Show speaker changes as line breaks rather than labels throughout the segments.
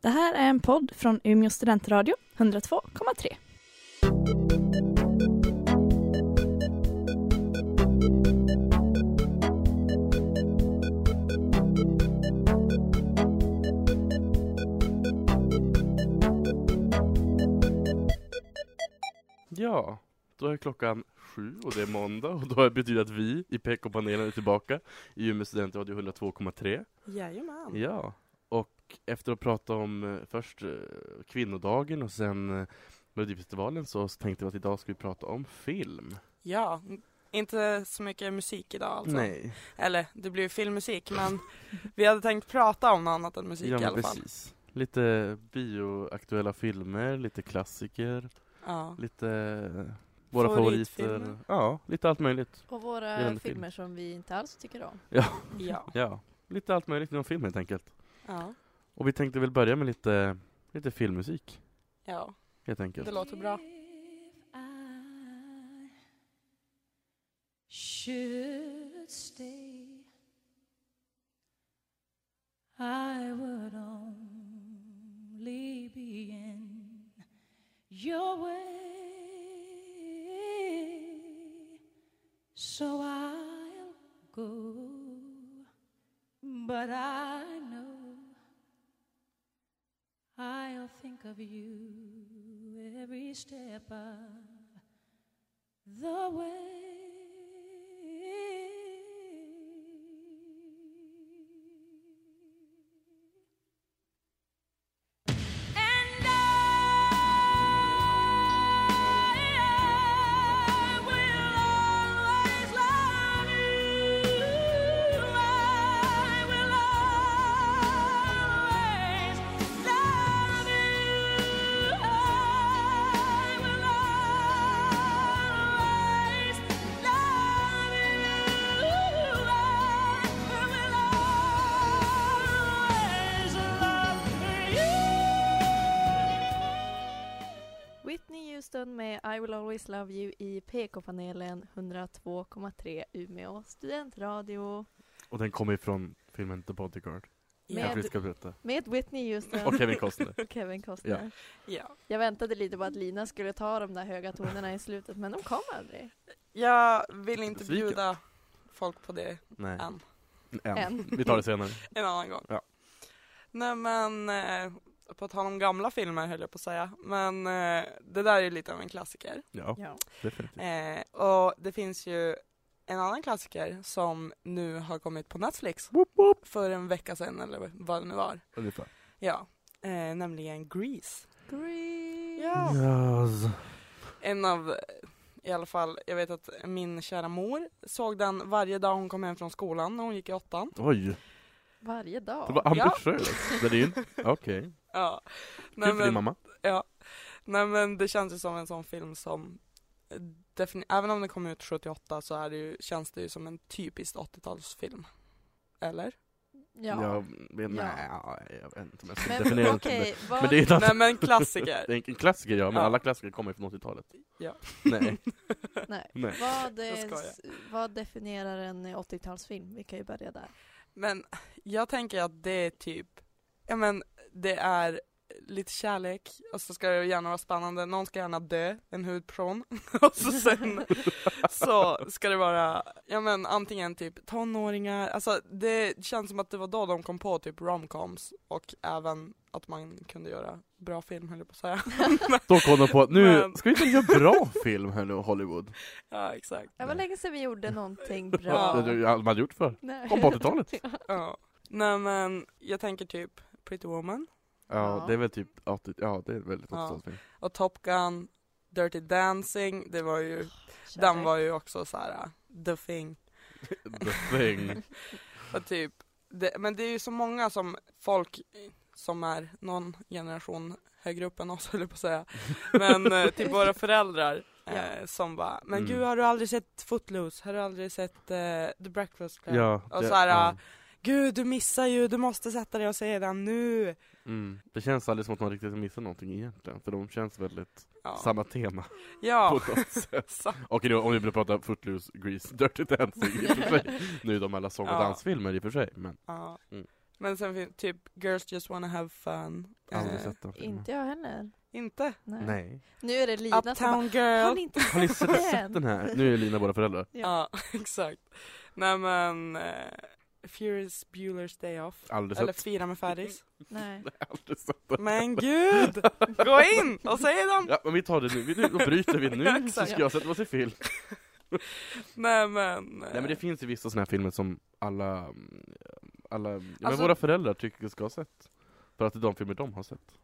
Det här är en podd från Umeå studentradio, 102,3.
Ja, då är klockan sju och det är måndag och då betyder det att vi i PK-panelen är tillbaka i Umeå studentradio 102,3.
Jajamän.
Ja, och efter att prata om eh, först eh, kvinnodagen och sen eh, Melodifestivalen så tänkte vi att idag ska vi prata om film.
Ja, inte så mycket musik idag alltså.
Nej,
Eller det blir ju filmmusik men vi hade tänkt prata om något annat än musik
ja,
i
men
alla fall.
precis. Lite bioaktuella filmer, lite klassiker,
Ja.
lite eh, våra favoriter.
Favoritfilmer.
Ja, lite allt möjligt.
Och våra
Gällande film.
filmer som vi inte alls tycker om.
ja.
Ja, lite allt möjligt inom film helt enkelt.
Ja.
Och vi tänkte väl börja med lite, lite filmmusik
Ja.
helt enkelt.
Det låter bra.
should stay, I would only be in your way. So I'll go, but I know I'll think of you every step of the way. And I will always love you. I will always love you. I will always love you. I will always love you.
Whitney Houston med I will always love you i PK-panelen 102,3 Umeå studentradio.
Och den kommer ifrån filmen The Bodyguard.
Ja.
Men-
Kanske vi ska berätta.
Med Whitney Houston
Och Kevin Costner.
och Kevin Costner.
ja.
Jag väntade lite på att Lina skulle ta de där höga tonerna i slutet men de kom aldrig.
Jag vill inte
Besviken.
bjuda folk på det
Nej.
än.
En.
Än.
Vi tar det senare.
En annan gång.
Ja.
Nej men, eh, på tal om gamla filmer höll jag på att säga. Men eh, det där är ju lite av en klassiker.
Ja,
Ja.
definitivt.
Eh, och det finns ju en annan klassiker som nu har kommit på Netflix för en vecka sedan eller vad det nu var.
Ungefär.
Ja, eh, nämligen Grease.
Green.
Yes.
En av, i alla fall, jag vet att min kära mor såg den varje dag hon kom hem från skolan när hon gick i åttan.
Oj,
Varje
det
dag.
var ambitiöst. Det är ju inte- Okej, kul
Ja. Nej,
för Typ din
men,
mamma.
nej men det känns ju som en sån film som defini- Även om den kom ut 78 så är det ju, känns det ju som en typiskt 80-talsfilm. Eller?
Ja.
Jag, vet-
Ja.
nej, jag vet inte om jag ska
Men
definiera
okej,
det. som det.
vad...
Men det är ett annat-
Nej men klassiker.
det är en klassiker ja, men
Ja.
alla klassiker kommer från 80-talet.
Ja.
Nej.
Nej.
Nej.
Vad,
Jag
eh,
skojar.
s- vad definierar en 80-talsfilm? Vi kan ju börja där.
Men jag tänker att det är typ, ja men det är lite kärlek och så ska det gärna vara spännande, någon ska gärna dö, en hudprån. och så sen så ska det vara, ja men antingen typ tonåringar, alltså det känns som att det var då de kom på typ romcoms och även att man kunde göra bra film höll jag på att säga.
Då kom de på att nu
Men-
ska vi inte göra bra film här nu Hollywood.
ja exakt.
Det var länge sedan vi gjorde någonting
Ja.
bra.
Det hade man gjort för.
Nej.
Kom på 80-talet.
Ja. Nej men jag tänker typ Pretty Woman
Ja,
Ja.
det är väl typ 80, ja det är väldigt
Ja.
80-talsfilm.
och Top Gun, Dirty Dancing, det var ju Den var ju också så här äh, the thing.
The thing.
Och typ, det, men det är ju så många som folk eh, som är någon generation högre upp än oss höll jag på att säga. Men eh, typ våra föräldrar eh, som bara, men
Mm.
gud har du aldrig sett Footloose? Har du aldrig sett eh, The Breakfast Club?
ja,
Och mm.
det,
så här,
ja.
Gud du missar ju, du måste sätta dig och se den nu!
Mm. det känns aldrig som att man riktigt missar någonting egentligen, för de känns väldigt
Ja,
samma tema
ja.
på något sätt.
Så,
Och nu, om vi vill prata Footloose, Grease, Dirty Dancing i och för sig. Nu är de alla sång och
Ja.
dansfilmer i och för sig, men
ja.
Mm.
Men sen finns typ Girls Just Wanna Have Fun.
Aldrig
Eh,
sett den filmen.
Inte jag heller.
Inte?
Nej.
Nej.
Nu är det Lina som bara,
Uptown
har
Girl.
ni inte
Har ni sett,
sett
sett den här? Nu är Lina våra föräldrar.
Ja, exakt. Nej men, eh, Furious Bueller's Day Off.
Aldrig
Eller
sett.
Fira med Färis.
Nej.
Aldrig sett den.
Men gud! Gå in och säg dem!
Ja, men vi tar det nu. Vi, nu då bryter vi
Ja,
nu så
exakt.
ska jag sätta oss i film.
Nej men. eh,
Nej men det finns ju vissa sådana här filmer som alla, mm, alla ja, men
Alltså-
våra föräldrar tycker ska ha sett. För att det är de filmer de har sett.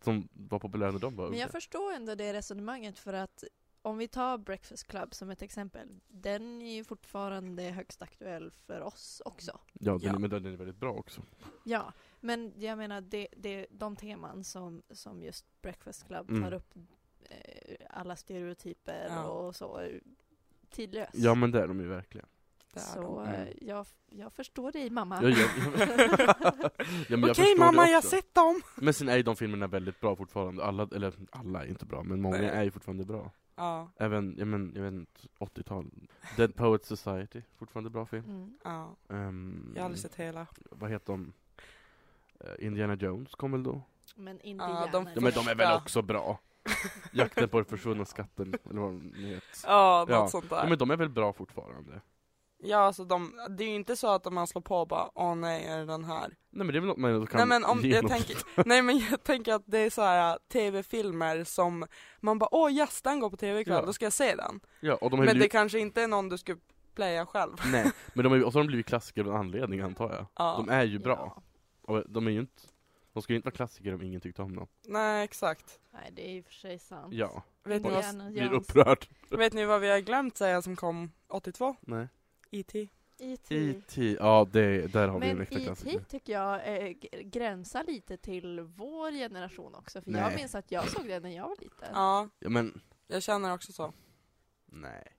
Som var populära när de var
Men
unga.
jag förstår ändå det resonemanget för att om vi tar Breakfast Club som ett exempel, den är ju fortfarande högst aktuell för oss också.
Ja, den,
Ja.
men den är väldigt bra också.
Ja, men jag menar det, det, de teman som, som just Breakfast Club
Mm.
tar upp, eh, alla stereotyper
Ja.
och så, är tidlös.
Ja men det är de ju verkligen.
där är de.
så
de.
eh, jag, jag förstår dig mamma.
Jag, jag, ja, men jag
Okej
förstår
mamma,
det
jag har
också.
sett dem!
Men sen är ju de filmerna väldigt bra fortfarande. Alla, eller alla är inte bra, men många
Nej.
är ju fortfarande bra.
Ja,
Även, jag men, jag vet inte, 80-tal. Dead Poets Society, fortfarande bra film.
Mm.
ja.
Ehm,
Jag har aldrig sett hela.
Vad heter de? Eh, Indiana Jones kom väl då?
Men
Ja,
Indiana.
de-
Ja, men de är väl
Första.
också bra? Jakten på den försvunna skatten, eller vad de nu heter.
Ja, något
Ja,
sånt där.
Ja, men de är väl bra fortfarande?
Ja alltså de, det är ju inte så att man slår på och bara åh nej är det den här?
Nej men det är väl något man ändå kan
Nej men, om,
ge
jag
något-
tänker, nej men jag tänker att det är så här tv-filmer som man bara åh yes den går på tv ikväll,
Ja.
då ska jag se den.
Ja, och de har ju
Men det
blivit...
kanske inte är någon du skulle playa själv.
Nej, men de har ju, och så har de blivit klassiker av en anledning antar jag.
Ja.
De är ju bra. Och de är ju inte... De skulle ju inte vara klassiker om ingen tyckte om dem.
Nej exakt.
Nej, det är i och för sig sant.
Ja,
Vet ni, vad,
Indiana
blir
Jones.
upprörd.
vet ni vad vi har glömt säga som kom E 82?
Nej.
E.T.
E.T.
E.T. Ja, det, där har vi en
Men
äkta klassiker.
IT tycker jag eh, g- gränsar lite till vår generation också, för jag
Nej.
minns att jag såg det när jag var liten.
Ja,
Ja men,
jag känner också så.
nej.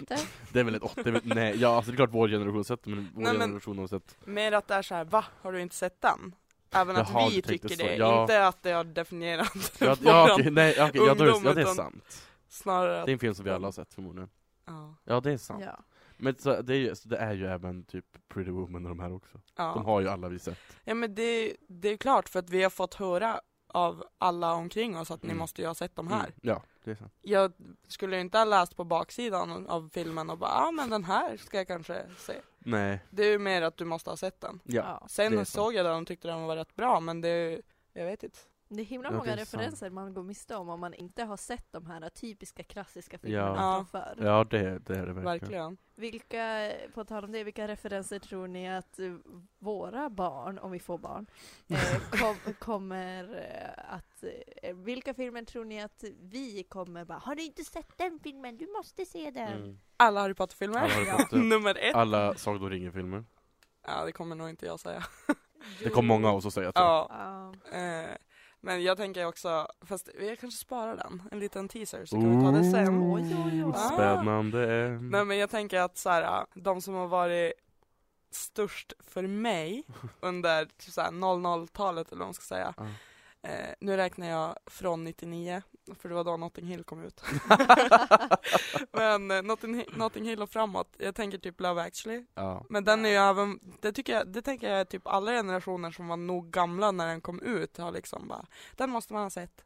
Inte?
Det är väl ett 80, det är väl- nej, ja alltså det är klart vår generation har sett det, men vår
Nej, men-
generation har sett
Mer att det är så här, va? Har du inte sett den? Även
Jaha,
att vi
du tänkte
tycker
så.
det,
Ja.
inte att det har definierat
Ja,
våran-
ja okej, nej, okej, ja, då är det, ja det är
ungdom,
sant.
snarare att,
Det är en film som vi alla har sett förmodligen.
ja.
Ja det är sant.
Ja.
Men så, det, är ju, så det är ju även typ Pretty Woman och de här också.
Ja.
De har ju alla vi sett.
Ja men det, det är klart för att vi har fått höra av alla omkring oss att ni
Mm.
måste ju ha sett de här.
Mm, ja, det är sant.
Jag skulle ju inte ha läst på baksidan av filmen och bara ja ah, men den här ska jag kanske se.
Nej,
Det är ju mer att du måste ha sett den.
ja. det är
Sen
sant.
såg jag den och tyckte den var rätt bra men det, är ju- jag vet inte.
Det är himla
Ja, det
många
är sant.
referenser man går miste om om man inte har sett de här typiska klassiska
Ja.
filmerna
Ja.
från förr.
Ja det, det är det verkligen.
Verkligen.
Vilka, på tal om det, vilka referenser tror ni att eh, våra barn, om vi får barn, eh, kom, kommer eh, att... Eh, vilka filmer tror ni att vi kommer bara Har du inte sett den filmen? Du måste se den!
Mm.
Alla Harry Potter-filmer.
Alla Harry Potter.
Nummer ett.
eh, Alla Sagan om ringen-filmer.
Ja det kommer nog inte jag säga.
Det kom många av oss att säga till.
Ja.
Ja.
Eh, men jag tänker också, fast jag kanske sparar den. En liten teaser så kan vi ta det sen.
Oj, oj, oj.
Ooh, Spännande.
Nej men jag tänker att så här, äh, de som har varit störst för mig under typ så här 00-talet eller vad man ska säga.
Ja.
Eh, nu räknar jag från 99, för det var då Notting Hill kom ut. men eh, Notting, Hi- Notting Hill och framåt, jag tänker typ Love actually.
Ja.
Men den är ju även, det tycker jag, det tänker jag är typ alla generationer som var nog gamla när den kom ut har liksom bara, den måste man ha sett.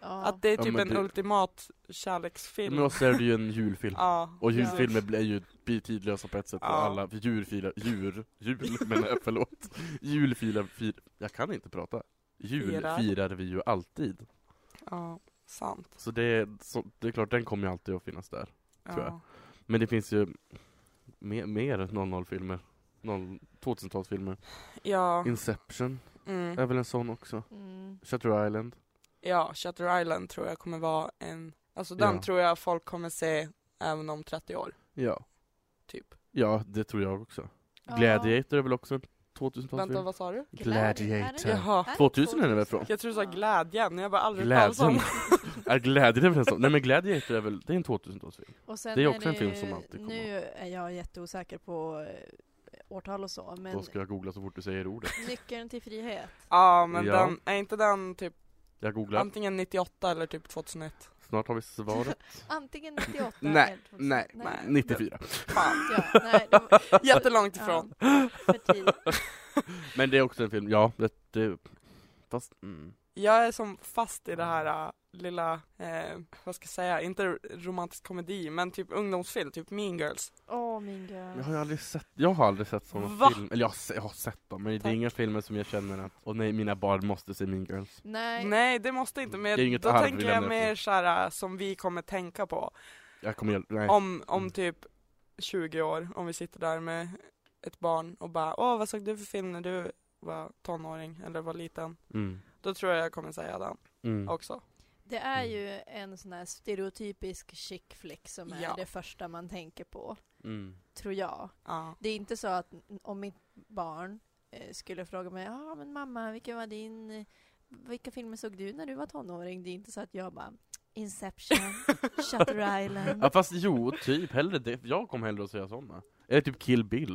Att det är
Ja,
typ
men
en
det-
ultimat kärleksfilm.
Men också är det ju en julfilm.
Ja.
Och julfilmer blir ju blir tidlösa på ett sätt,
Ja.
och alla för djurfilar, djur, jul men jag, förlåt. Julfilar, fir, jag kan inte prata. Jul
Firar.
firar vi ju alltid.
Ja, sant.
Så det, är- så det är klart, den kommer ju alltid att finnas där. Tror jag.
Ja.
Men det finns ju mer, mer 00-filmer. 00 2000-talsfilmer.
Ja,
Inception
mm.
är väl en sån också.
Mm.
Shutter Island.
ja, Shutter Island tror jag kommer vara en, alltså den
Ja.
tror jag folk kommer se även om 30 år,
Ja.
typ.
Ja, det tror jag också.
Ja.
Gladiator är väl också en
Vänta,
2000-talsfilm?
vad sa du?
Gladiator.
Är det-
Jaha,
är det
2000 är det väl från?
jag tror du sa glädjen, jag har bara aldrig hört talas om
Glädjen. är Gladiator väl en sån? Nej men Gladiator är väl, det är en 2000-talsfilm?
Och sen
Det är också en film som alltid kommer.
Nu är jag jätteosäker på eh, årtal och så, men
Då ska jag googla så fort du säger ordet.
Nyckeln till frihet.
Ja, men
Ja.
den, är inte den typ
Jag googlar.
antingen 98 eller typ 2001?
Snart har vi svaret.
Antingen 98
Nej,
eller 2000.
nej,
nej.
94.
Fan.
Ja, nej, det var
Jättelångt
Ja.
ifrån.
för tidigt.
Men det är också en film, ja, det, det fast mm.
Jag är som fast i det här äh, lilla, eh, vad ska jag säga, inte romantisk komedi, men typ ungdomsfilm, typ Mean Girls.
Åh min
jag
gud.
har ju aldrig sett, jag har aldrig sett sådana
Va?
filmer, eller jag har, se- jag har sett dem, men det är
Tack.
inga filmer som jag känner att, och nej, mina barn måste se Mean Girls.
Nej,
Nej, det måste inte, men
Det är inget
då
arv vi
tänker jag
lämnar efter
mer såhär äh, som vi kommer tänka på
Jag kommer, göra- nej.
om,
Mm.
om typ 20 år, om vi sitter där med ett barn och bara åh vad såg du för film när du var tonåring eller var liten?
Mm.
Då tror jag jag kommer säga den
Mm.
också.
det är ju en sån här stereotypisk chick flick som är
Ja.
det första man tänker på.
Mm.
Tror jag.
Ja.
Det är inte så att n- om mitt barn eh, skulle fråga mig, ja ah, men mamma, vilken var din, eh, vilka filmer såg du när du var tonåring? Det är inte så att jag bara, Inception, Shutter
Ja
Island,
fast jo, typ, hellre det, jag kommer hellre att säga sådana. Eller typ Kill Bill.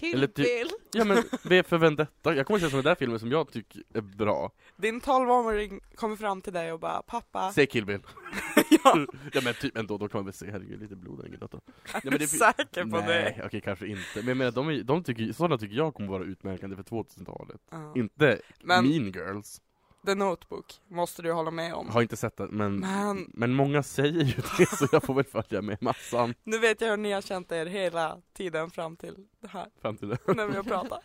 eller
Kill
typ-
Bill.
Ja men, V för Vendetta, jag kommer att säga sådana där filmer som jag tycker är bra.
Din 12-åring kommer fram till dig och bara pappa,
Se Kill Bill.
ja,
Ja men typ ändå, då kan man väl se, herregud, lite blod och inget annat.
är
men det-
du säker på
Nej,
det?
okej kanske inte. Men jag menar, de, är- de tycker, sådana tycker jag kommer vara utmärkande för 2000-talet.
Ja.
Inte
Men-
Mean Girls.
The Notebook måste du hålla med
Jag
om.
har inte sett den, men,
Men-
men många säger ju det, så jag får väl följa med massan
Nu vet jag hur ni har känt er hela tiden fram till det här,
fram till det.
när vi har pratat.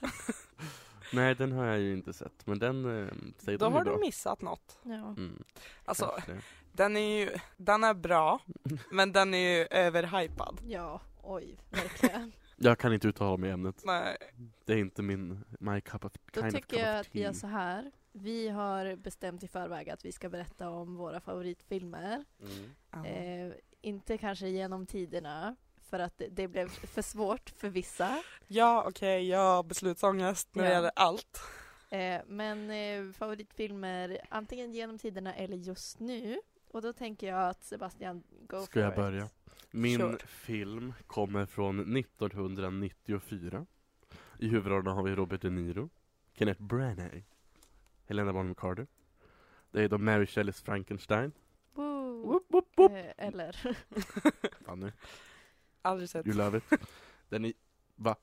Nej, den har jag ju inte sett, men den eh, säger
Då
de är
har
bra.
du missat något.
Ja.
Mm,
Alltså,
kanske.
den är ju, den är bra, men den är ju överhypad.
ja, oj, verkligen.
Jag kan inte uttala mig i ämnet.
Nej,
Det är inte min, my cup of,
Då
kind of
tycker
cup
jag
of
att vi gör
tea.
så här. Vi har bestämt i förväg att vi ska berätta om våra favoritfilmer.
Mm.
ja.
Eh, inte kanske genom tiderna, för att det, det blev för svårt för vissa.
Ja, okej, jag har beslutsångest när det
Ja.
gäller allt.
Eh, men eh, favoritfilmer, antingen genom tiderna eller just nu. Och då tänker jag att Sebastian, go
Ska
for
jag
it.
börja? Min
Kör.
film kommer från 1994. I huvudrollerna har vi Robert De Niro, Kenneth Branagh, Helena Bonham Carter. Det är då Mary Shelleys Frankenstein.
Woo.
Whoop, whoop, whoop.
Eh, eller,
Fanny,
Aldrig sett.
you love it. Den är... Va?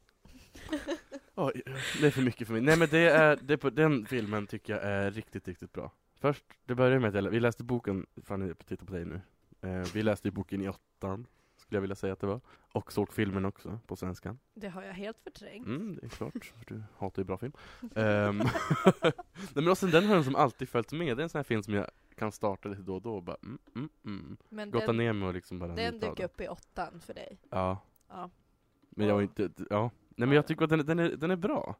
Oj, det är för mycket för mig. Nej men det är, det är på, den filmen tycker jag är riktigt, riktigt bra. Först, det börjar med att jag, vi läste boken, Fanny titta på dig nu. Eh, vi läste ju boken i åttan, skulle jag vilja säga att det var. Och såg filmen också, på svenskan.
det har jag helt förträngt.
Mm, det är klart, för du hatar ju bra film. Ehm, Nej men och sen den har den som alltid följt med, det är en sån här film som jag kan starta lite då och då och bara mm, mm, mm.
Men
Gotta
den,
ner mig och liksom bara
den
njuta av
dök upp i åttan för dig.
Ja,
Ja.
men jag var
Ja.
inte, ja. Nej men jag tycker att den, den, är, den är bra.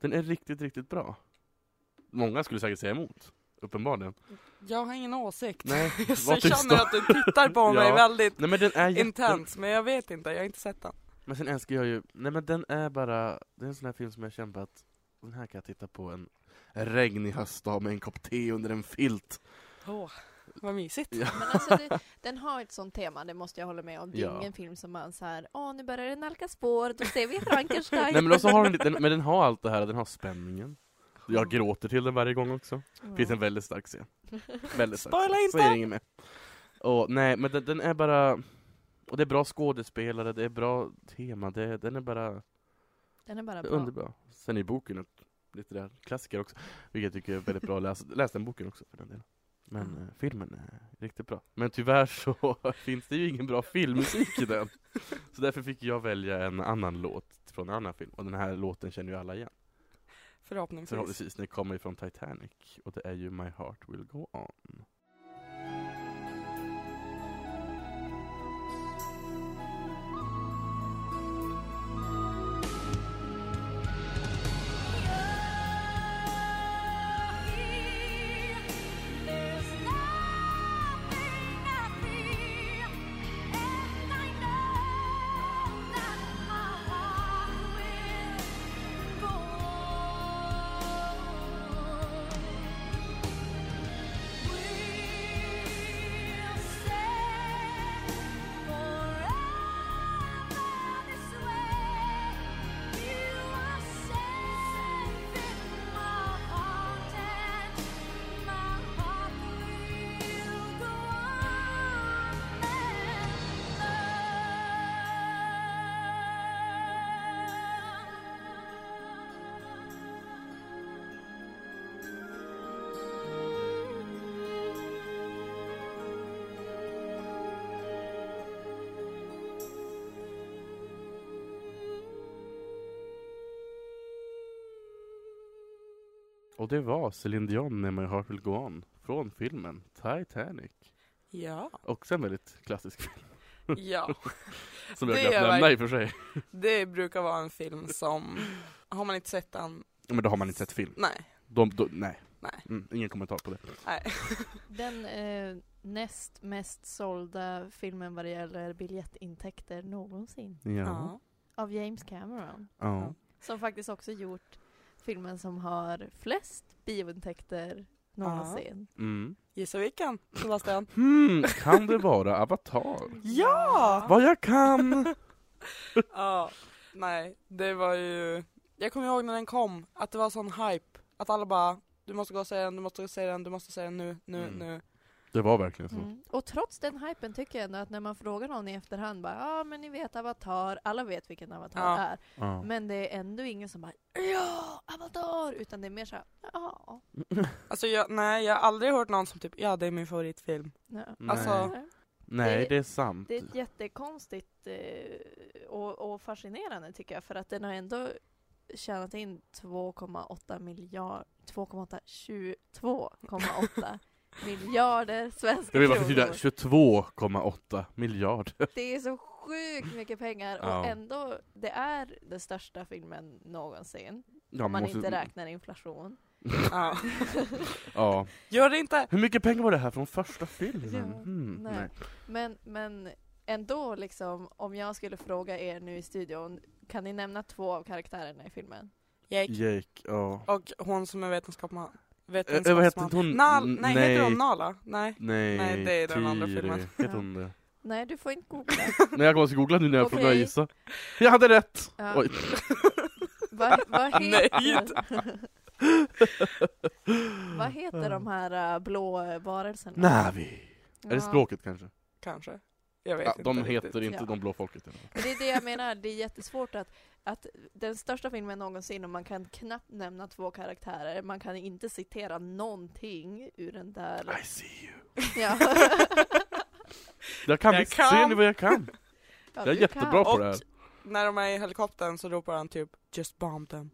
Den är riktigt, riktigt bra. Många skulle säkert säga emot, uppenbarligen.
Jag har ingen åsikt.
Nej,
Så
var
jag
tyst
känner
då.
att du tittar på mig
Ja.
väldigt
Nej men den är jätte-
intens, men jag vet inte, jag har inte sett den.
Men sen älskar jag ju, nej men den är bara, det är en sån här film som jag kämpar att den här kan jag titta på en regnig höstdag med en kopp te under en filt.
Åh, vad mysigt.
Ja.
Men alltså det, den har ett sånt tema, det måste jag hålla med om. Det är
Ja.
ingen film som man så här, åh nu börjar det nalkas vår, då ser vi Frankenstein.
Nej men också har den, lite- den, men den har allt det här, den har spänningen. Jag gråter till den varje gång också.
Ja.
Finns en väldigt stark scen. Väldigt stark
Spoila
scen.
inte!
Säger inget mer. Och, nej men den, den är bara, och det är bra skådespelare, det är bra tema, det, den är bara
Den är bara bra.
underbar. Sen är boken ett litterär klassiker också, vilket jag tycker är väldigt bra att läsa. Läs den boken också för den delen. Men
Mm.
eh, filmen är riktigt bra. Men tyvärr så finns det ju ingen bra filmmusik i den. Så därför fick jag välja en annan låt från en annan film, och den här låten känner ju alla igen.
Förhoppningsvis.
Förhoppningsvis, den kommer ju från Titanic och det är ju My Heart Will Go On.
Will
Och det var Celine Dion med My Heart Will Go On från filmen Titanic.
Ja.
Också en väldigt klassisk film
ja.
som jag
Det
glömt
är
nämna
verk-
i och för sig.
Det brukar vara en film som, har man inte sett den,
Men då har man inte sett film.
nej.
De, de, nej.
Nej.
Mm, ingen kommentar på det.
nej.
Den eh, näst mest sålda filmen vad det gäller biljettintäkter någonsin.
Ja. Ja.
Av James Cameron. Som faktiskt också gjort filmen som har flest biointäkter någonsin.
Mm.
Gissa vilken, Sebastian?
Hmm, kan det vara Avatar?
Ja!
Vad jag kan!
ja. Nej, det var ju, jag kommer ihåg när den kom, att det var sån hype, att alla bara, du måste gå och se den, du måste se den, du måste se den nu, nu,
Mm.
nu.
Det var verkligen så.
Mm. Och trots den hypen tycker jag ändå att när man frågar någon i efterhand bara ja ah, men ni vet Avatar, alla vet vilken Avatar
Ja.
är.
Ja.
Men det är ändå ingen som bara ja, Avatar! Utan det är mer såhär ja.
Alltså jag, nej, jag har aldrig hört någon som typ, ja det är min favoritfilm.
ja.
Nej.
Alltså-
Nej,
det-
det är sant.
Det är ett jättekonstigt eh, och, och fascinerande tycker jag för att den har ändå tjänat in 2,8 miljarder, 2,8, 22,8 miljarder svenska
Jag vill bara förtydliga,
kronor.
22,8 miljarder.
Det är så sjukt mycket pengar
Ja.
och ändå, det är den största filmen någonsin.
Ja,
Om man
måste-
inte räknar inflation.
Ja.
Ja.
Gör det inte!
Hur mycket pengar var det här från första filmen?
Ja,
Mm,
nej. Men, men ändå liksom, om jag skulle fråga er nu i studion, kan ni nämna två av karaktärerna i filmen?
Jake.
Jake, ja.
Och hon som är vetenskapsman.
Eh, vad heter inte hon?
Nal,
N-
nej,
nej.
heter hon Nala? Nej.
Nej,
Nej, det är den andra
Kiri.
filmen.
Heter hon det?
Nej, du får inte googla.
Nej, jag kommer att googla nu när jag får
Okej.
börja gissa. Jag hade rätt!
Ja.
Oj.
Vad vad
Nej.
heter... Vad heter de här äh, blå äh, varelserna?
Navi.
Ja.
Är det språket kanske?
Kanske. Jag vet
Ja,
inte.
de
riktigt.
heter inte
Ja.
de blå folket. i alla fall.
Men Det är det jag menar, det är jättesvårt att, att den största filmen någonsin och man kan knappt nämna två karaktärer, man kan inte citera någonting ur den där...
I see you.
Ja.
Jag kan
Jag
visst,
kan.
ser ni vad jag kan?
Ja,
Jag är
du
jättebra på
Och-
det här.
När de är i helikoptern så ropar han typ 'Just bomb them'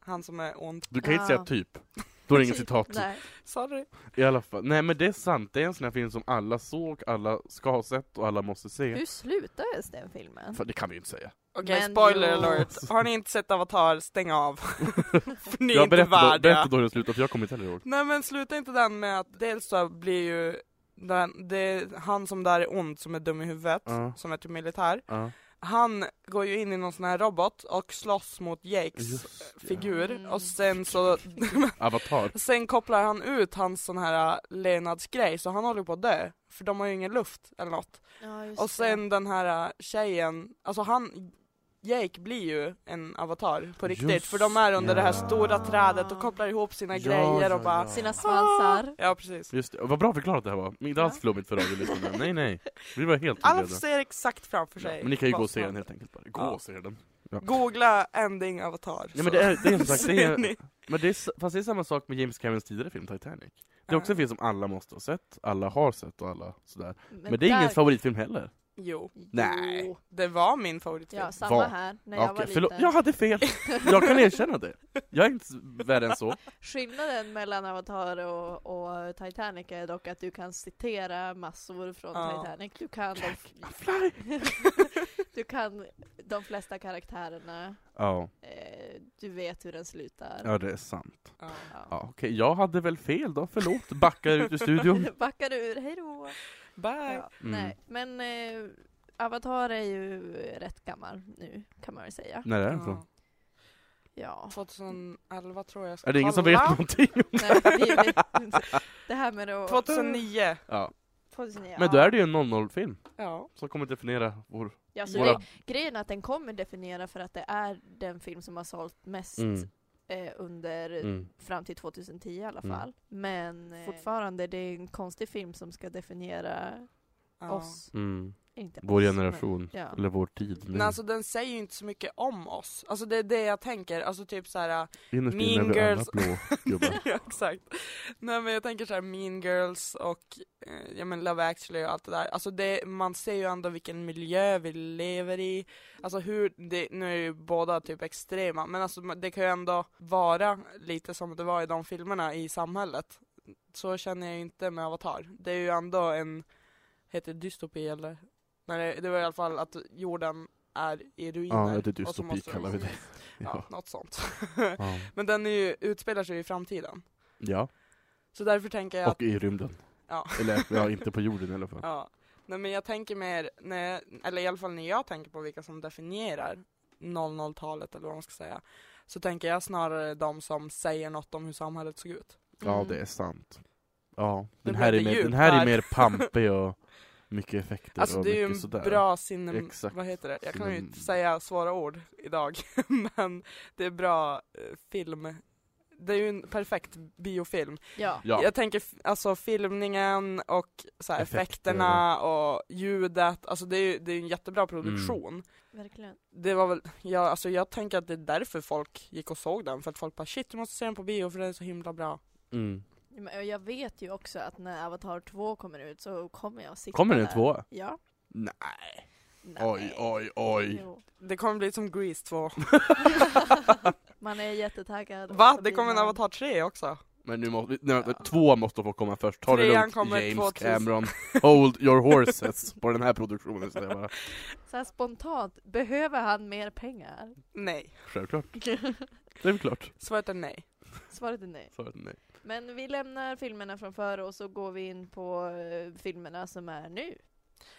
Han som är ond.
Du kan inte
Ah.
säga typ. Då är det inget citat.
Nej.
Sorry.
I alla fall. Nej men det är sant, det är en sån här film som alla såg, alla ska ha sett och alla måste se.
Hur slutades den filmen?
För det kan vi ju inte säga.
Okej,
Men
spoiler
jo.
alert. Har ni inte sett Avatar, stäng av. För ni är
Jag
inte
berättar då,
värdiga.
berätta då hur den slutar för jag kommer inte heller ihåg.
Nej men sluta inte den med att dels så blir ju den, det är han som där är ond som är dum i huvudet,
Ja.
som är typ militär.
Ja,
Han går ju in i någon sån här robot och slåss mot Jakes
just det.
figur
Mm.
och sen så
Avatar.
sen kopplar han ut hans sån här eh, levnadsgrej så han håller på att dö för de har ju ingen luft eller något.
Ja, just
Och sen den här äh, tjejen, alltså han Jake blir ju en avatar på riktigt
Just
för de är under det här
ja.
stora trädet och kopplar ihop sina grejer och bara "Ah!"
det.
ja.
Sina svansar.
Ja precis.
Just det, vad bra förklarat det här var. Inte alls
Ja.
flummigt för radiolyssnarna. Nej nej. Vi var helt
Alla
förberedda.
ser exakt framför
Ja,
sig.
men ni kan ju
vad
gå och
som
se den
händer.
helt enkelt. Bara. Gå
Ja.
och se den. Ja.
Googla ending avatar.
Ja, men det är- det är som
så
sagt, det är-
ser ni.
Men det är, s- fast det är samma sak med James Camerons tidigare film Titanic. Det är
Ja.
också en film som alla måste ha sett, alla har sett och alla sådär. Men, det är
där-
ingen favoritfilm heller.
Jo,
Nej.
det var min favoritfilm.
Ja, samma
Var.
här, när
Ja,
jag var
okej, förlåt.
liten.
Jag hade fel! Jag kan erkänna det. Jag är inte s- värre än så.
Skillnaden mellan Avatar och, och Titanic är dock att du kan citera massor från
Ja.
Titanic. Du kan, de,
Fly.
du kan de flesta karaktärerna,
Ja,
eh, du vet hur den slutar.
ja det är sant.
Ja.
Ja, okej, jag hade väl fel då, förlåt. Backar ut ur studion.
Backar du ur, hejdå!
Bye!
Ja,
Mm.
Nej, men eh, Avatar är ju rätt gammal nu, kan man väl säga.
När är den
Ja.
från?
2011
Ja.
tror jag jag ska
Är det ingen som
kolla.
vet någonting?
Nej, vi vet inte. det här med att...
2009.
Ja.
2009.
Men då är det ju en 00-film
Ja.
som kommer definiera vår...
Ja,
Alltså,
så
Våra-
det, grejen är att den kommer definiera för att det är den film som har sålt mest
Mm.
eh, under
Mm.
fram till 2010 i alla
Mm.
fall. Men eh, fortfarande, det är en konstig film som ska definiera
ja.
oss.
Mm.
Inte
Vår
oss,
generation, Mm.
men- ja.
eller vår tid.
Men alltså den säger ju inte så mycket om oss. Alltså det är det jag tänker, alltså typ så här.
Innerst
Mean
inne är vi alla
Girls.
blå gubbar.
ja, exakt. Nej men jag tänker så här Mean Girls och eh, ja, men Love actually och allt det där. Alltså det, man ser ju ändå vilken miljö vi lever i. Alltså hur, det, nu är ju båda typ extrema men alltså det kan ju ändå vara lite som det var i de filmerna i samhället. Så känner jag ju inte med Avatar. Det är ju ändå en, heter det dystopi eller? Nej det- det var i alla fall att jorden är i
Ja,
ruiner.
det är
och så
dystopi
måste de- liksom,
kallar vi det.
Ja,
Ja.
något sånt.
Ja.
men den är ju, utspelar sig ju i framtiden.
ja.
Så därför tänker jag att,
Och i rymden.
Ja.
Eller ja, inte på jorden i alla fall.
ja. Nej men jag tänker mer, när, eller i alla fall när jag tänker på vilka som definierar 00-talet eller vad man ska säga, så tänker jag snarare de som säger något om hur samhället såg ut.
Ja,
Mm.
det är sant. Ja,
Det
den här är,
blev
mer,
djupt
den här är
här.
mer pampig och mycket effekter
Alltså
och
det är ju en
mycket sådär.
bra sinne...
Exakt.
Vad heter det? Jag kan ju
Sinem-
inte säga svåra ord idag, men det är bra eh, film. Det är ju en perfekt biofilm.
Ja.
Ja,
Jag tänker f- alltså filmningen och så här,
Effekter.
effekterna och ljudet, alltså det är ju det är ju en jättebra produktion.
Verkligen.
Det var väl, ja, alltså jag tänker att det är därför folk gick och såg den, för att folk bara shit du måste se den på bio för den är så himla bra.
mm.
Men Jag vet ju också att när Avatar 2 kommer ut så kommer jag att sitta
Kommer det en
där.
tvåa?
Ja.
Nej.
Nej.
Oj, oj, oj.
Jo.
Det kommer bli som Grease 2.
Man är jättetaggad. och
Va?
så
Det
blir
kommer en
man-
Avatar 3 också?
Men nu måste, nej,
Ja.
två måste få komma först. Ta det
Trean
lugnt
kommer
James
2000.
Cameron. Hold your horses på den här produktionen säger jag bara.
Så här spontant, behöver han mer pengar?
Nej.
Självklart. Det är väl klart.
Svaret är nej.
Svaret är nej.
Svaret är nej.
Men vi lämnar filmerna från förr och så går vi in på eh, filmerna som är nu.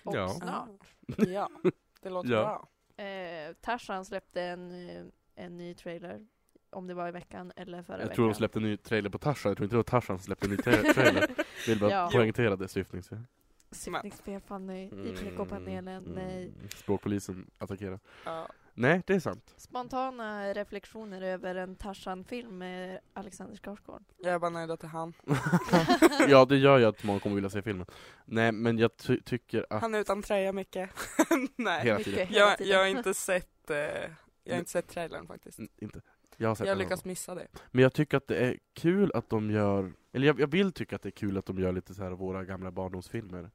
Och
Ja.
snart.
Ja, det låter
Ja.
bra.
Eh, Tarzan släppte en, eh, en ny trailer. Om det var i veckan eller förra
Jag
veckan.
tror de släppte en ny trailer på Tarzan. Jag tror inte det var Tarzan som släppte en ny tra- trailer. Vill bara
Ja.
poängtera det syftnings...
Syftningsfel, Fanny. IPK-panelen,
Mm,
nej.
mm. Språkpolisen attackerar.
Ja.
Nej, det är sant.
Spontana reflektioner över en Tarzan-film med Alexander Skarsgård.
Jag är bara nöjd att det är han.
ja, det gör ju att många kommer vilja se filmen. Nej, men jag ty- tycker att...
Han är utan tröja mycket. nej.
Hela tiden.
Mycket hela
Jag,
tiden.
jag har inte sett, eh, jag har inte sett trailern faktiskt.
N- Inte. Jag har sett
Jag har
den
lyckats missa det.
Men jag tycker att det är kul att de gör, eller jag, jag vill tycka att det är kul att de gör lite så här våra gamla barndomsfilmer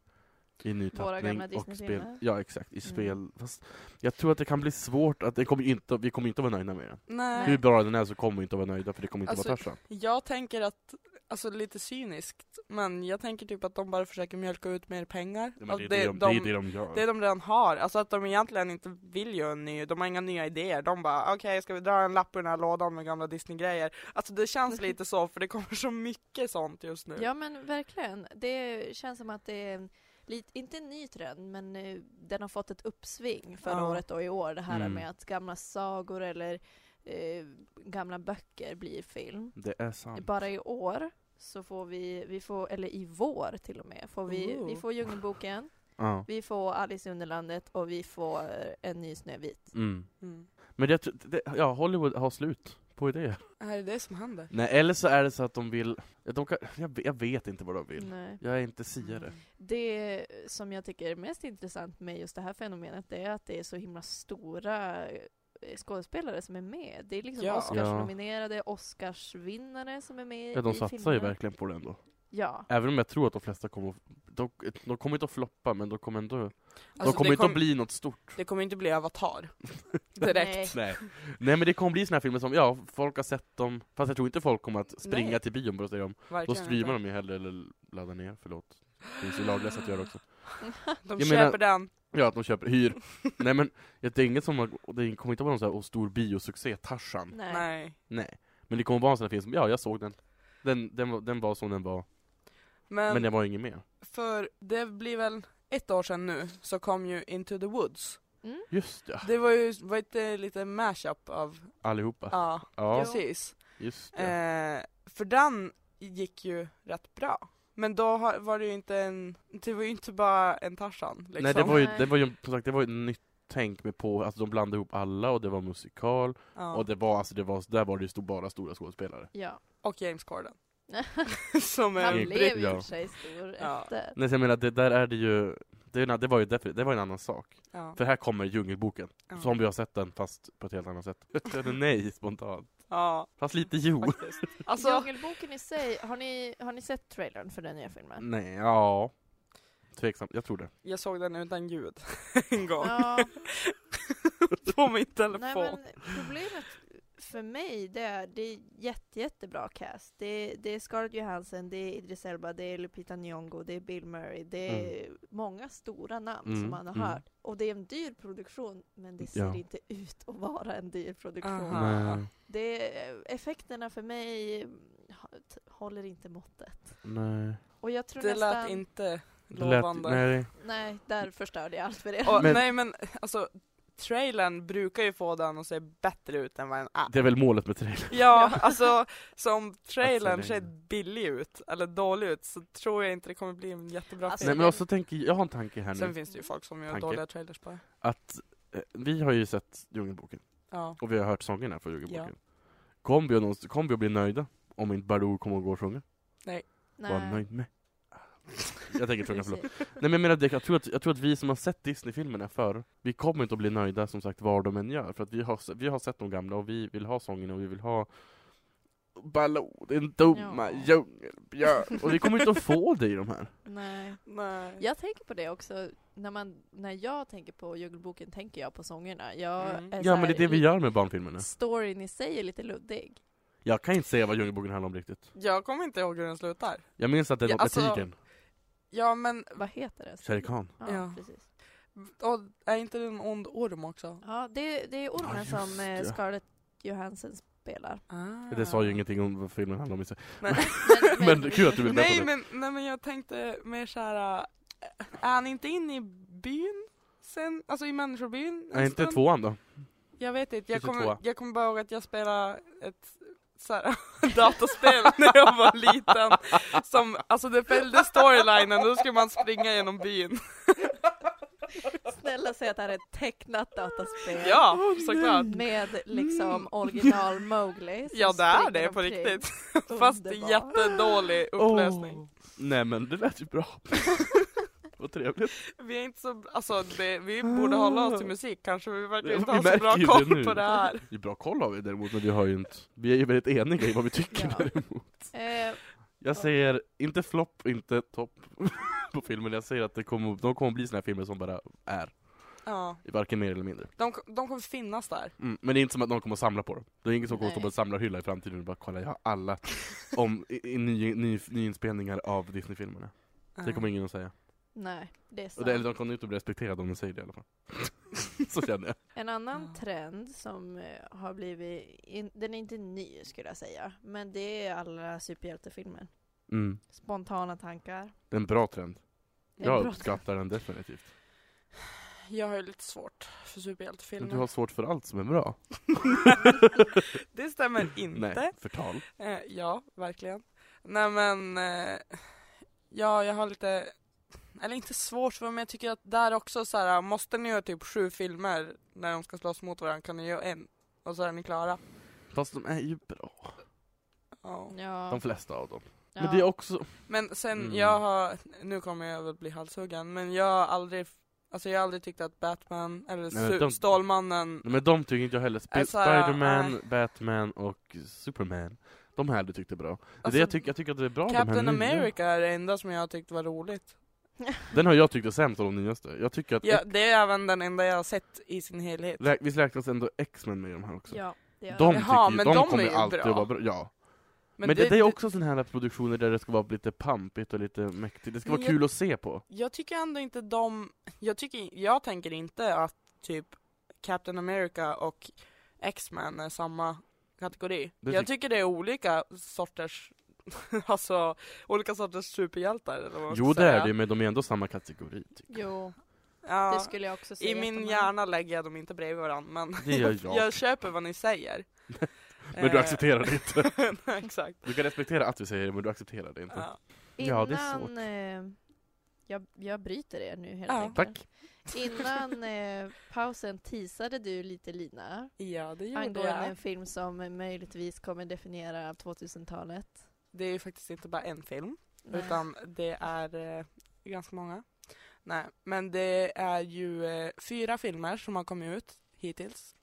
i ny
Våra
tappning
gamla
och spel.
Disney-filmer.
Ja exakt, i spel. Fast jag tror att det kan bli svårt, att det kommer ju inte, vi kommer inte vara nöjda med den.
Nej.
Hur bra den är så kommer vi inte vara nöjda för det kommer inte vara
Alltså-
Tarzan.
Jag tänker att, alltså lite cyniskt, men jag tänker typ att de bara försöker mjölka ut mer pengar.
Ja, men
Alltså,
det, är det, de, det är det de gör.
det de redan har, alltså att de egentligen inte vill göra en ny, de har inga nya idéer. De bara okej, ska vi dra en lapp ur den här lådan med gamla Disney-grejer? Alltså det känns lite så, för det kommer så mycket sånt just nu.
Ja men verkligen. Det känns som att det är, en lit- inte en ny trend, men eh, den har fått ett uppsving förra
Ja.
året och i år. Det här
Mm.
med att gamla sagor eller eh, gamla böcker blir film.
Det är sant.
Bara i år så får vi, vi får, eller i vår till och med, får vi,
Ooh.
vi får Djungelboken,
Ja.
vi får Alice i Underlandet och vi får en ny Snövit.
Mm.
Mm.
Men jag tror- det, ja, Hollywood har slut på idéer.
Är det det som händer?
Nej, eller så är det så att de vill, de kan, jag, jag vet inte vad de vill.
Nej.
Jag är inte
Mm.
siare.
Det som jag tycker är mest intressant med just det här fenomenet det är att det är så himla stora eh, skådespelare som är med. Det är liksom
Ja.
Oscarsnominerade, Oscarsvinnare som är med
Ja, de
i
satsar ju
filmerna.
verkligen på det ändå.
Ja.
Även om jag tror att de flesta kommer att- de, de kommer inte att floppa, men de kommer ändå
Alltså,
De kommer
det,
inte
kom,
att bli något stort
det kommer inte bli Avatar. Direkt.
Nej.
Nej Nej men det kommer bli såna här filmer som, ja, folk har sett dem Fast jag tror inte folk kommer att springa
Nej.
till bion för att se dem Då
Verkligen
streamar
inte.
de ju hellre, eller laddar ner, förlåt Det finns ju lagligt att göra också
de.
Jag menar-
köper den.
Ja, att de köper, hyr Nej men, det är inget som, har- det kommer inte vara någon så här "Åh, stor biosuccé, Tarzan
Nej.
Nej.
Nej Men det kommer vara en sån här film som, ja, jag såg den Den, den, var- den var som den var,
Men,
men den var ingen mer
för det blir väl ett år sedan nu, så kom ju Into the Woods.
Just ja,
Det var ju, var inte lite mashup av,
allihopa
ja,
Ja,
precis.
just det
Eh, för den gick ju rätt bra. Men då har- var det ju inte en, det var ju inte bara en Tarzan liksom.
Nej det var ju,
Nej.
det var ju som sagt, det var ju ett nytt tänk med på, alltså de blandade ihop alla och det var musikal
ja.
och det var alltså, det var, där var det ju stod bara stora skådespelare.
Ja.
Och James Corden. Som
Han
är
Ingen-
blev i och
Ja.
för sig stor
Ja.
efter.
Nej så jag menar, det, där är det ju, Det, är en- det var ju defin- det var en annan sak.
Ja.
För här kommer Djungelboken.
Ja.
Som vi har sett den fast på ett helt annat sätt. Jag känner nej spontant.
Ja,
Fast lite jo.
faktiskt. Alltså,
Djungelboken i sig, har ni, har ni sett trailern för den nya filmen?
Nej, ja. Tveksamt, jag tror det.
jag såg den utan ljud en gång
Ja,
på min
nej
telefon.
men problemet för mig det är, det är jätte, jättebra cast. Det är, det är Scarlett Johansson, det är Idris Elba, det är Lupita Nyong'o, det är Bill Murray, det är många stora namn
Mm,
som man har
mm.
hört. Och det är en dyr produktion, men det ser
Ja.
inte ut att vara en dyr produktion.
Aha. Ja.
Nej,
Det, effekterna för mig mm, t- håller inte måttet.
nej.
Och jag tror
Det
nästan...
lät inte
Det lät,
lovande.
nej.
Nej, där förstörde jag allt för er.
Och,
Men-
Nej men alltså, trailern brukar ju få den att se bättre ut än vad den är.
Det är väl målet med trailern.
Ja, alltså som trailern
Alltså,
ser
det-
billig ut, eller dålig ut, så tror jag inte det kommer bli en jättebra
Alltså,
Nej
film.
men också tänker, jag har en tanke här
Sen
nu.
finns det ju folk som gör
Tanke.
dåliga trailers bara.
Att eh, vi har ju sett Djungelboken.
Ja.
Och vi har hört sångerna från Djungelboken. Kommer vi, att någonstans- kommer vi att bli nöjda? Om inte Baroo kommer att gå och sjunga? Var nöjd med. Jag tänker sjunga, förlåt.
Precis.
Nej men jag menar, det- jag tror, att, jag tror att vi som har sett Disney-filmerna förr, vi kommer inte att bli nöjda som sagt vad de än gör, för att vi har, se- vi har sett de gamla och vi vill ha sången och vi vill ha Ballå, den dumma
Ja.
djungelbjörn. Och vi kommer inte att få det i de här.
Nej.
Nej.
Jag tänker på det också, när, man, när jag tänker på Djungelboken tänker jag på sångerna. Jag
Mm.
är
Ja
så
men det är
här-
det vi gör med barnfilmerna.
Storyn i sig är lite luddig.
Jag kan inte säga vad Djungelboken handlar om riktigt.
Jag kommer inte ihåg hur den slutar.
Jag minns att det är
Ja,
något med
alltså-
tigern,
Ja men,
Vad heter det?
Shere Khan.
Ja,
Ja.
precis.
och, är inte det en ond orm också?
Ja, det, det är
Ja,
ormen
just
som eh,
det.
Scarlett Johansson spelar.
Ah.
Det sa ju ingenting om vad filmen handlar om i sig.
Nej.
Men kul att du vill berätta
Nej
det.
men, nej men jag tänkte mer såhär, äh, är han inte inne i byn? Sen, alltså i människobyn? en
Nej, inte
stund?
tvåan då.
Jag vet inte, jag
Kanske tvåa.
kommer, jag kommer bara ihåg att jag spelade ett så här, dataspel när jag var liten. Som, alltså det följde storylinen, då skulle man springa genom byn.
Snälla säg att det här är ett tecknat dataspel.
Ja, såklart.
Med
Mm.
liksom original Mowgli. som
Ja det är
springer
det på
omkring.
riktigt. Fast det är
Underbart.
jättedålig upplösning.
Åh. Nej men det lät ju bra. Vad trevligt.
Vi är inte så, alltså det, vi borde hålla oss till musik kanske, vi verkar
Ja,
inte
vi
ha så
märker
bra
ju det nu.
koll på det här.
Det är bra koll har vi däremot, men vi har ju inte... Vi är ju väldigt eniga i vad vi tycker
Ja.
däremot.
Eh,
Jag säger inte flopp, inte topp på filmen. Jag säger att det kommer, de kommer bli såna här filmer som bara är.
Ja,
Varken mer eller mindre.
de, de kommer finnas där.
Mm. Men det är inte som att någon kommer att samla på dem. Det är ingen som kommer att stå
Nej.
på en samlarhylla i framtiden och bara kolla, jag har alla om, i, i, ny, ny, nyinspelningar av Disney-filmerna. Det kommer ingen att säga.
nej, det är
Och
sant.
det, eller de kommer inte att bli respekterade om de säger det i alla fall. Så känner jag.
En annan
Ja.
trend som eh, har blivit, in, den är inte ny skulle jag säga, men det är alla superhjältefilmer.
Mm.
Spontana tankar.
Det är en bra trend.
Det är
Jag
bra-
uppskattar den definitivt.
Eh, Jag har ju lite svårt för
Men
superhjältefilmer.
du har svårt för allt som är bra.
Det stämmer inte.
Nej, förtal.
Eh, ja, verkligen. Nej men, eh, ja jag har lite, eller inte svårt för men jag tycker att där också så här, måste ni göra typ sju filmer när de ska slåss mot varandra kan ni göra en och så är ni klara.
Fast de är ju bra,
Ja.
Ja.
de flesta av dem.
ja.
Men det är också...
Men sen
Mm.
jag har, nu kommer jag väl bli halshuggen, men jag har aldrig, alltså jag har aldrig tyckt att Batman eller
Nej, men
Su-
de-
Stålmannen,
Men de tycker inte jag heller. Sp-
Alltså,
Spiderman,
nej.
Batman och Superman. De här du tyckte är bra. Det är det
alltså,
jag, tycker, jag tycker att det är bra de här
Captain
nya.
America är det enda som jag har tyckt var roligt.
Den har jag tyckt är sämst av de nyaste. Jag tycker att...
Ja, det är även den enda jag har sett i sin helhet.
Lä- visst räknas ändå X-Men med i de här också?
Ja, det gör
De,
det.
tycker,
Jaha,
ju-
men
de,
de är
kommer
ju
alltid
bra.
att vara bra. Ja. Men, det, det är också sådana här produktioner där det ska vara lite pampigt och lite mäktigt. Det ska
Men
vara
jag-
kul att se på.
Jag tycker ändå inte de, jag, tycker, jag tänker inte att typ Captain America och X-Men är samma kategori.
Det
jag
tyck-
tycker det är olika sorters, alltså olika sorters superhjältar eller vad man
Jo
ska
det
säga.
är det, men de är ändå samma kategori. typ. tycker jag.
Jo,
Ja,
det skulle jag också säga.
I
att de
min
är.
hjärna lägger jag dem inte bredvid varandra men
Det gör jag.
jag köper vad ni säger.
Men du accepterar det inte.
det? Exakt.
Eh. Du kan respektera att vi säger det, men du accepterar det inte.
Ja.
Ja, det är
Innan,
svårt.
Eh, jag, jag bryter er nu helt
Ja.
enkelt.
Tack.
Innan eh, pausen teasade du lite Lina
ja, det gjorde
angående en
jag.
film som möjligtvis kommer definiera 2000-talet.
Det är ju faktiskt inte bara en film,
Nej.
utan det är eh, ganska många. Nej, men det är ju eh, fyra filmer som har kommit ut hittills.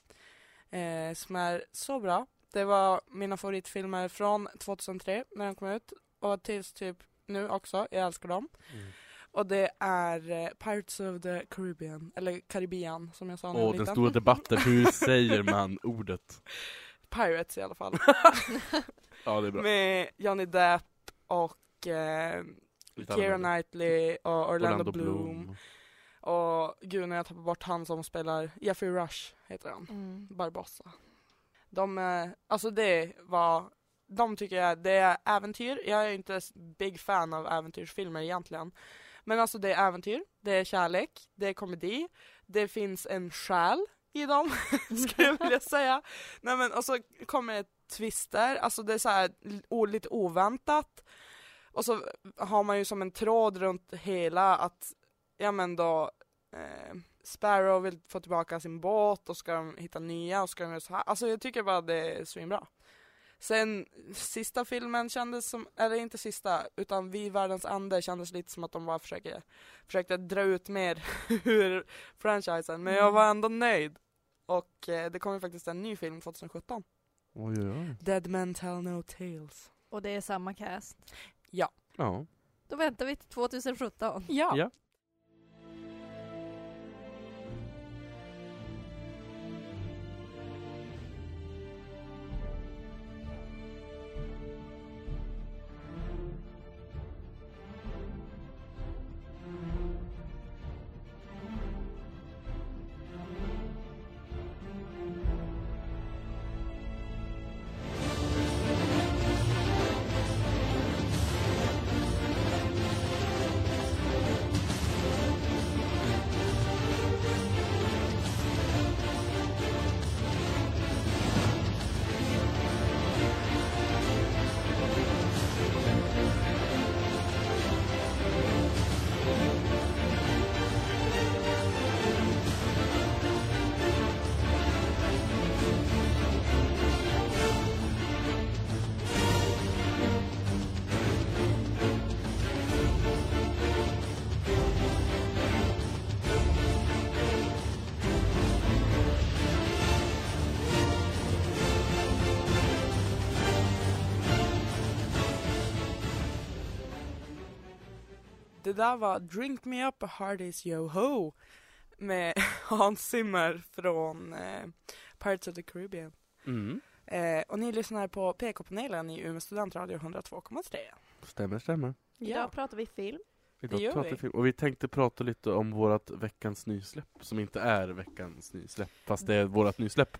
Eh, som är så bra. Det var mina favoritfilmer från 2003 när de kom ut. Och tills typ nu också. Jag älskar dem.
Mm.
Och det är eh, Pirates of the Caribbean. Eller Caribbean som jag sa när jag
Åh,
var
den
liten.
stora debatten, hur säger man ordet?
Pirates i alla fall.
Ja, det är bra.
Med Johnny Depp och eh,
Lite
Keira
annorlunda.
Knightley och Orlando,
Orlando
Bloom.
Bloom.
Och gud, när jag tappar bort han som spelar Jeffrey Rush, heter han.
Mm.
Barbossa. De, eh, alltså det var, de tycker jag, det är äventyr. Jag är inte s- big fan av äventyrsfilmer egentligen. Men alltså det är äventyr, det är kärlek, det är komedi, det finns en själ i dem, skulle jag vilja säga. Nej men och så kommer det twister, alltså det är så här o- lite oväntat. Och så har man ju som en tråd runt hela att, ja men då, eh, Sparrow vill få tillbaka sin båt och ska de hitta nya och ska de göra så här. Alltså jag tycker bara det är svinbra. Sen sista filmen kändes som, eller inte sista, utan Vi i världens ande kändes lite som att de bara försöker, försökte dra ut mer ur franchisen. Men jag var ändå nöjd. Och eh, det kom ju faktiskt en ny film 2017.
Oj, oj, oj.
Dead Men Tell No Tales.
Och det är samma cast.
Ja.
Då väntar vi till 2017.
Ja.
Ja.
Det där var Drink Me Up Hardys Yo Ho med Hans Zimmer från eh, Pirates of the Caribbean.
Mm.
Eh, och ni lyssnar på PK-panelen i Umeå studentradio 102,3.
Stämmer, stämmer.
Ja.
Idag pratar vi film.
Idag
gör
pratar
vi.
film. Och vi tänkte prata lite om vårat veckans nysläpp, som inte är veckans nysläpp, fast det är vårat nysläpp.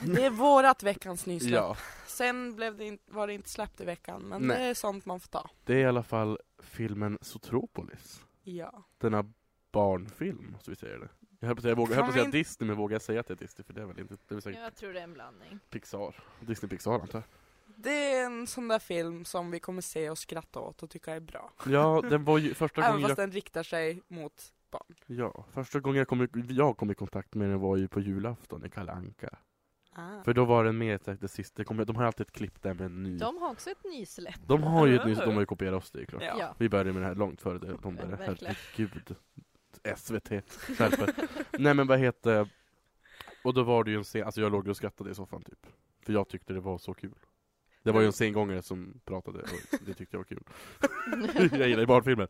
Det är vårat veckans nysläpp.
Ja.
Sen blev det in, var det inte släppt i veckan, men
Nej.
det är sånt man får ta.
Det är i alla fall filmen Zootropolis.
Ja.
Denna barnfilm, så vi säger det. Jag höll på att säga, jag vågar- jag höll på att
Kan vi
säga
inte-
Disney, men vågar jag säga att det är Disney? För det är väl inte, det är väl säkert
Jag tror det är en blandning.
Pixar. Disney Pixar antar jag.
Det är en sån där film som vi kommer se och skratta åt och tycka är bra.
Ja, den var ju första
Även
gången
fast
jag,
den riktar sig mot barn.
ja, första gången jag, kom, i- jag kom i kontakt med den var ju på julafton i Kalle Anka.
Ah,
För då var den med i ett- det sista, det kom- de har alltid ett klipp där med en ny. De,
De har också ett nysläpp.
har ju ett nytt, de har ju kopierat oss, det är ju klart.
Ja.
Ja.
Vi började med det här långt före det, de började,
Verkligen.
herregud. SVT skärper. Nej men vad heter Och då var det ju en scen, alltså jag låg och skrattade i soffan typ. För jag tyckte det var så kul. Det var ju en sengångare som pratade och det tyckte jag var kul. jag gillar ju barnfilmer.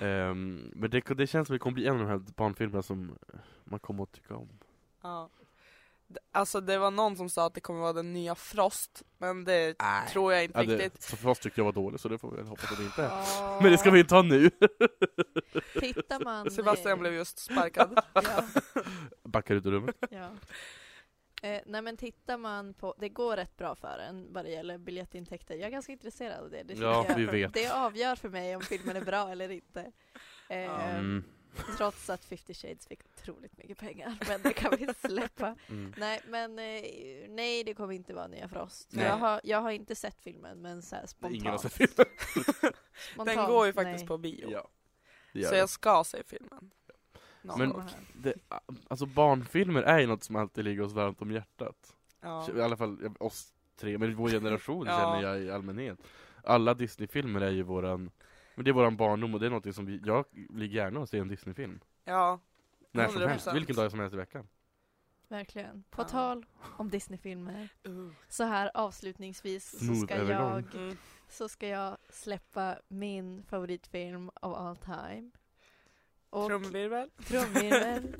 Ehm, men det, det känns som det kommer bli en av de här barnfilmerna som man kommer att tycka om.
Ja. D- Alltså det var någon som sa att det kommer vara den nya Frost, men det tror jag inte
Ja,
riktigt.
det, så fast tyckte jag var dålig så det får vi väl hoppas att det inte är.
Ja.
Men det ska vi inte ta nu!
Tittar man...
Sebastian
eh,
blev just sparkad.
Ja,
Backar ut ur rummet.
ja. Eh, nej men tittar man på, det går rätt bra för en vad det gäller biljettintäkter. Jag är ganska intresserad av det. det tycker
Ja,
jag,
vi vet.
Det avgör för mig om filmen är bra eller inte.
Ehm,
Eh,
Mm.
Trots att 50 shades fick otroligt mycket pengar. Men det kan vi släppa.
Mm.
Nej, men eh, nej, det kommer inte vara Nya Frost.
Nej.
Jag har, jag har inte sett filmen, men så här spontant.
Ingen har sett filmen.
spontant,
Den går ju faktiskt
nej.
på bio.
Ja. Det gör
Så
det.
jag ska se filmen. Någon
Men-
gång.
det, alltså barnfilmer är ju något som alltid ligger oss varmt om hjärtat.
ja.
I alla fall ja, oss tre, men vår generation
Ja.
känner jag i allmänhet. Alla Disney-filmer är ju våran Men det är våran barndom och det är någonting som vi, jag ligger gärna och ser en Disney-film.
Ja,
När som helst,
100%.
vilken dag som helst i veckan.
Verkligen. På
Ja.
tal om Disneyfilmer, så här avslutningsvis så
Smooth
ska,
övergång.
jag,
Uh, mm.
så ska jag släppa min favoritfilm of all time. Och
trumvirvel.
trumvirvel.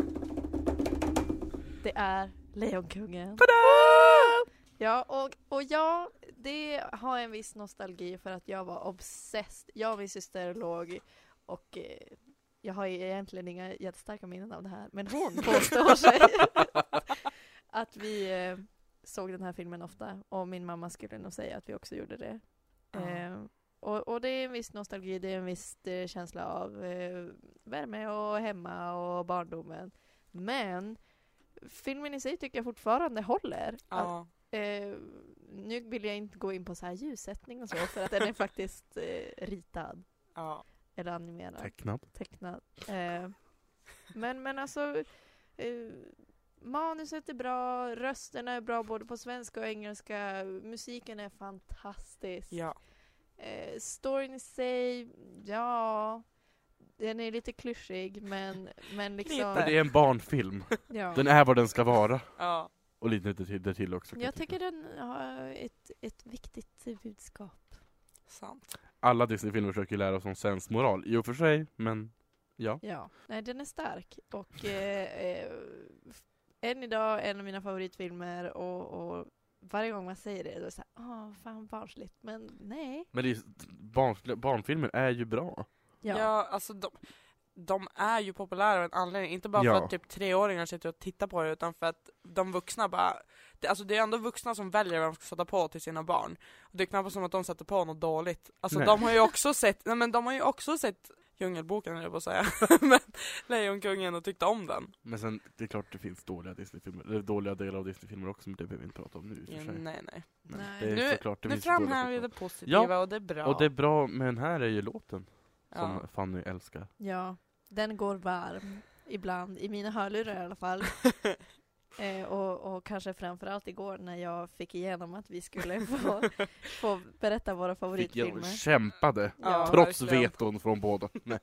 Det är Lejonkungen. Ja, och, och jag det har en viss nostalgi för att jag var obsessed. Jag och min syster låg och eh, jag har ju egentligen inga jättestarka minnen av det här, men hon påstår sig att vi eh, såg den här filmen ofta och min mamma skulle nog säga att vi också gjorde det. Eh, och, och det är en viss nostalgi, det är en viss eh, känsla av eh, värme och hemma och barndomen. Men filmen i sig tycker jag fortfarande håller.
Ja.
Eh, nu vill jag inte gå in på så här ljussättning och så, för att den är faktiskt eh, ritad
ja.
eller animerad,
Tecknad.
tecknad. Eh, men, men alltså, eh, manuset är bra, rösterna är bra både på svenska och engelska, musiken är fantastisk.
ja.
Eh, storyn i sig, ja, den är lite klyschig men, men liksom...
Men det är en barnfilm.
ja.
Den är vad den ska vara.
ja.
Och lite därtill där till också. kan
Jag
tycka.
tycker den har ett, ett viktigt budskap.
Sant.
Alla Disney-filmer försöker lära oss om sensmoral. I och för sig, men ja.
Ja, nej den är stark och eh, eh, f- än idag en av mina favoritfilmer och, och varje gång man säger det då är det såhär, åh fan barnsligt, men nej.
Men det är, barn, barnfilmer är ju bra.
Ja. alltså de, de är ju populära av en anledning. Inte bara
Ja.
för att typ treåringar sitter och tittar på det, utan för att de vuxna bara... Det, alltså det är ändå vuxna som väljer vad de ska sätta på till sina barn. Och det är knappast som att de sätter på något dåligt. Alltså
Nej.
de har ju också sett, nej men de har ju också sett Djungelboken höll jag på att säga. men Lejonkungen och tyckte om den.
Men sen, det är klart det finns dåliga Disney-filmer, eller dåliga delar av Disney-filmer också, men det behöver vi inte prata om nu i och för
Ja,
sig.
nej nej.
Men
Nej.
Det är
Nu-
såklart, det
Nu
finns dåliga
framhäver vi
saker.
det positiva och det är bra.
Och det är bra med den här är ju låten, som
ja.
Fanny älskar.
Ja, den går varm ibland, i mina hörlurar i alla fall. Eh, och, och kanske framförallt igår när jag fick igenom att vi skulle få, få berätta våra
Fick jag
favoritfilmer.
kämpade,
Ja,
trots
verkligen.
veton från båda. Nej.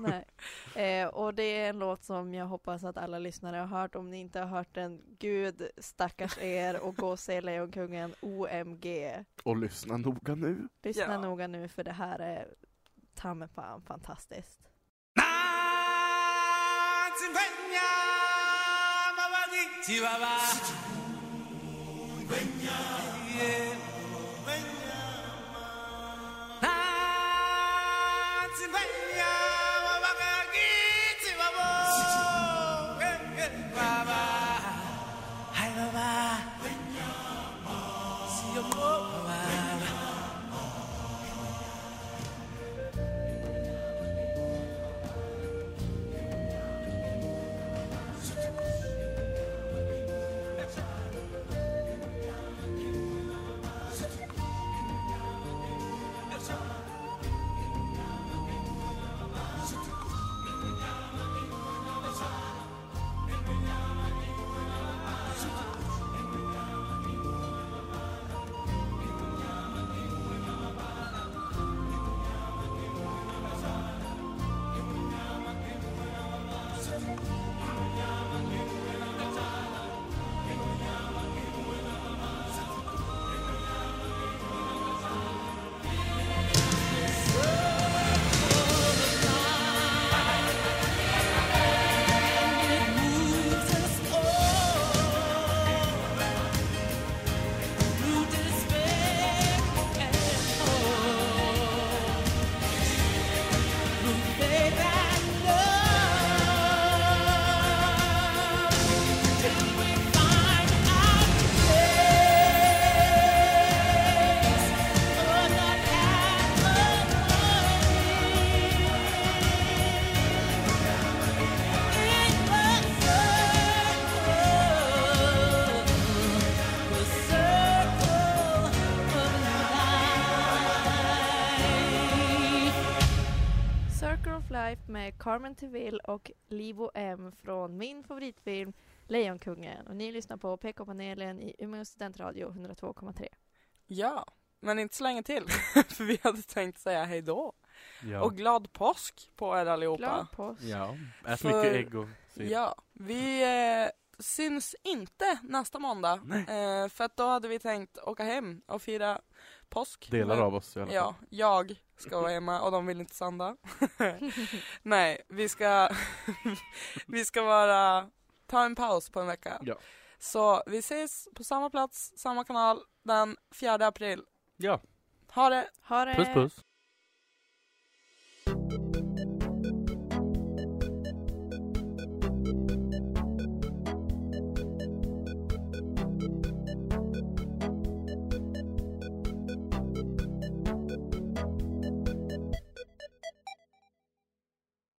Nej. Eh, och det är en låt som jag hoppas att alla lyssnare har hört. Om ni inte har hört den, gud stackars er och gå och se Lejonkungen OMG.
Och lyssna noga nu.
Lyssna
Ja.
noga nu för det här är ta mig fan fantastiskt. Circle of Life med Carmen Teville och Livo M från min favoritfilm Lejonkungen. Och ni lyssnar på PK-panelen i Umeå studentradio 102,3.
ja, men inte så länge till. För vi hade tänkt säga hej då.
Ja.
Och glad påsk på er allihopa.
Glad påsk.
ja. Ät
För-
mycket ägg och sill.
Ja, vi eh, syns inte nästa måndag. Eh, för att då hade vi tänkt åka hem och fira påsk.
Delar
Men-
av oss i alla fall.
Ja, jag ska vara hemma och de vill inte sanda. Nej, vi ska, vi ska bara ta en paus på en vecka.
Ja.
Så vi ses på samma plats, samma kanal den 4 april.
ja.
Ha det!
Ha det!
Puss puss.
you